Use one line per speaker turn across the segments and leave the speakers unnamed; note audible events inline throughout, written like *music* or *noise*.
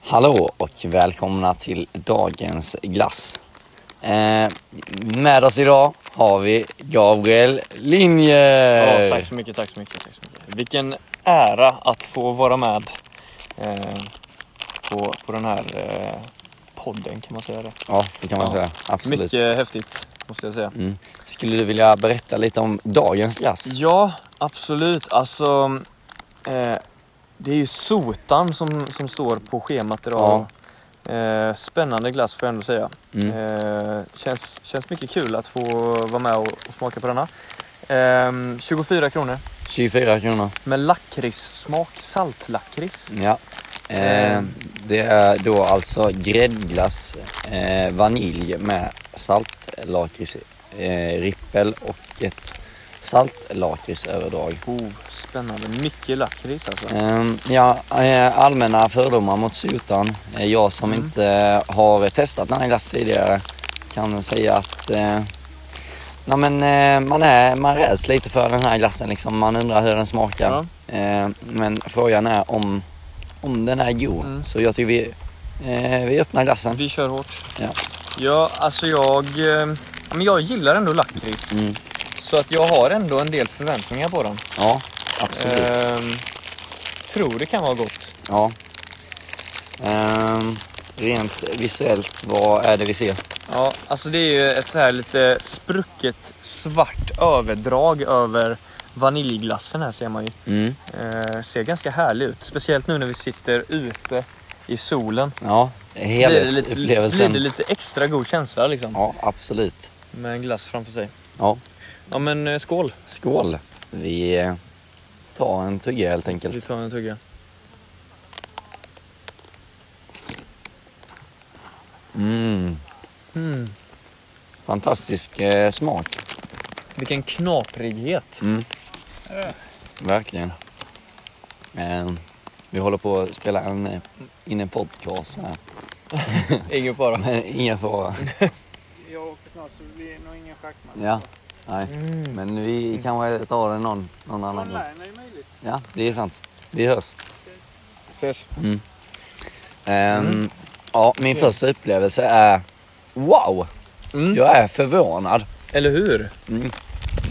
Hallå och välkomna till dagens glass. Eh, med oss idag har vi Gabriel Linje.
Ja, tack så mycket, tack så mycket, tack så mycket. Vilken ära att få vara med eh, på, på den här eh, podden kan man säga det.
Ja, det kan man
Ja.
säga. Absolut.
Mycket häftigt måste jag säga.
Mm. Skulle du vilja berätta lite om dagens glass?
Ja, absolut. Alltså, eh, det är ju sotan som, som står på schemat idag. Eh, spännande glass får jag ändå säga.
Mm.
Eh, känns, känns mycket kul att få vara med och, och smaka på denna. Eh, 24 kronor
24 kronor.
med lakritssmak, saltlakrits.
Ja. Eh,
Mm.
det är då alltså gräddglass, eh, vanilj med saltlakrits, eh, rippel och ett saltlakritsöverdrag.
Oh, spännande. Mycket lakrits alltså.
Ehm, Ja, eh, allmänna fördomar mot sotan. Eh, Jag som
Mm.
inte har testat den här glassen tidigare kan säga att eh, nej men, eh, man, är, man räds lite för den här glassen. Liksom. Man undrar hur den smakar.
Ja.
Eh, Men frågan är om, om den är god.
Mm.
Så jag tycker vi, eh, vi öppnar glassen.
Vi kör hårt.
Ja.
Ja, alltså jag... eh, ja, Men jag gillar ändå lakrits.
Mm.
Så att jag har ändå en del förväntningar på den.
Ja, absolut.
Ehm, tror det kan vara gott.
Ja. Ehm, Rent visuellt, vad är det vi ser?
Ja, alltså det är ju ett så här lite sprucket svart överdrag över vaniljglassen här ser man ju.
Mm.
Ehm, ser ganska härlig ut. Speciellt nu när vi sitter ute i solen.
Ja,
Blir det, lite, blir
helhetsupplevelsen.
det lite extra god känsla liksom.
Ja, absolut.
Med en glass framför sig.
Ja.
Ja men eh, skål.
Skål! Vi eh, tar en tugga helt enkelt.
Vi tar en tugga.
Mm,
Mm.
fantastisk eh, smak. *laughs*
Vilken knaprighet.
Mm. Verkligen. Eh, vi håller på att spela en, eh, in en podcast här. *laughs*
Ingen fara.
Men ingen fara.
Jag åker snart så det blir nog ingen schackmatch.
Ja, nej.
Mm.
Men vi kanske tar det någon, någon annan gång.
Online är ju möjligt.
Ja, det är sant. Vi hörs.
Ses.
Ehm, Ja, min första upplevelse är wow!
Mm.
Jag är förvånad. Mm.
Eller hur?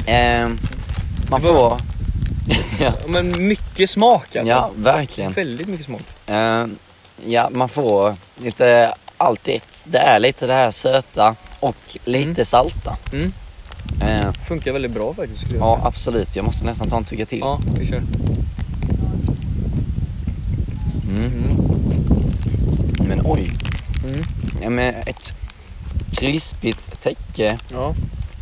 Ehm, man
Vad-
får...
Ja, Men mycket smak alltså.
Ja, verkligen.
Väldigt mycket smak.
Eh, ja, man får lite allt i ett. Det är lite det här söta och lite
Mm.
salta.
Mm.
Eh,
Funkar väldigt bra faktiskt skulle jag
ja,
säga.
absolut. Jag måste nästan ta en tugga till.
Ja, vi kör.
Mm.
Mm.
Men oj.
Mm.
Ja, men ett krispigt täcke,
Ja.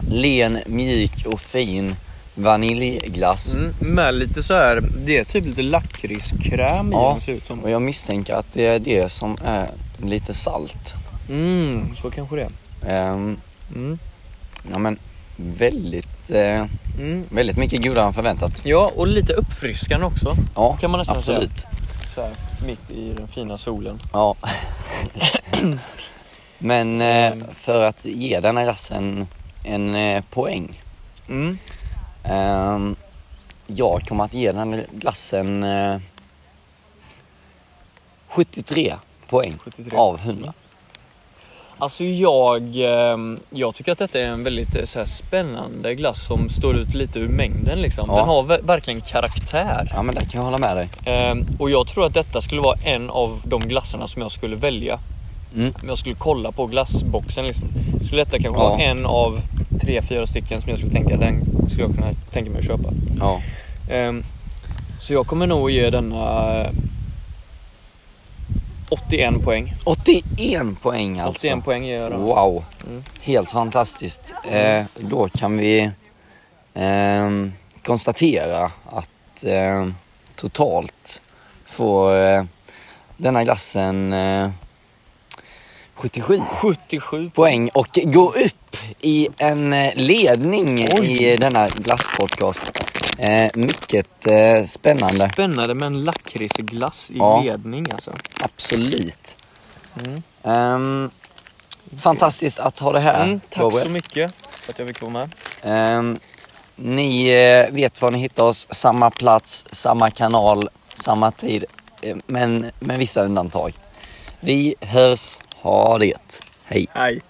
len, mjuk och fin vaniljglass.
Mm. Med lite så här, det är typ lite lakritskräm
Ja.
i den ser ut som.
Och jag misstänker att det är det som är lite salt.
Mm, så kanske det är.
Ehm,
Mm.
ja, men väldigt, eh,
Mm.
väldigt mycket godare än förväntat.
Ja, och lite uppfriskande också.
Ja,
Kan man nästan säga.
absolut.
Så här, mitt i den fina solen. *coughs*
Ja. Men eh,
Ehm.
för att ge den här glassen en eh, poäng.
Mm.
ehm, jag kommer att ge den här glassen eh, 73 poäng
73.
av 100.
Alltså jag, ehm, jag tycker att detta är en väldigt eh, så här spännande glass som står ut lite ur mängden liksom.
Ja.
Den har ver- verkligen karaktär.
Ja men där kan jag hålla med dig.
Ehm, och jag tror att detta skulle vara en av de glassarna som jag skulle välja.
Mm.
Om jag skulle kolla på glassboxen liksom. Skulle detta kanske
Ja.
vara en av tre, fyra stycken som jag skulle tänka den skulle jag kunna tänka mig att köpa.
Ja.
Ehm, så jag kommer nog ge denna eh, 81 poäng.
81 poäng alltså.
81 poäng ger jag den.
Wow.
Mm.
Helt fantastiskt. Eh, då kan vi ehm, konstatera att eh, totalt får eh, denna glassen eh, 77
77
poäng och gå upp i en eh, ledning
Oj.
i denna glasspodcast. Eh, mycket eh, spännande.
Spännande med en lakritsglass i
Ja.
ledning alltså.
Absolut.
Mm.
Ehm, fantastiskt att ha det här.
Mm, tack
Gabriel.
så mycket för att jag fick vara med.
Ehm, ni eh, vet var ni hittar oss. Samma plats, samma kanal, samma tid. Eh, men med vissa undantag. Vi hörs. Ha det gött. Hej.
Hej.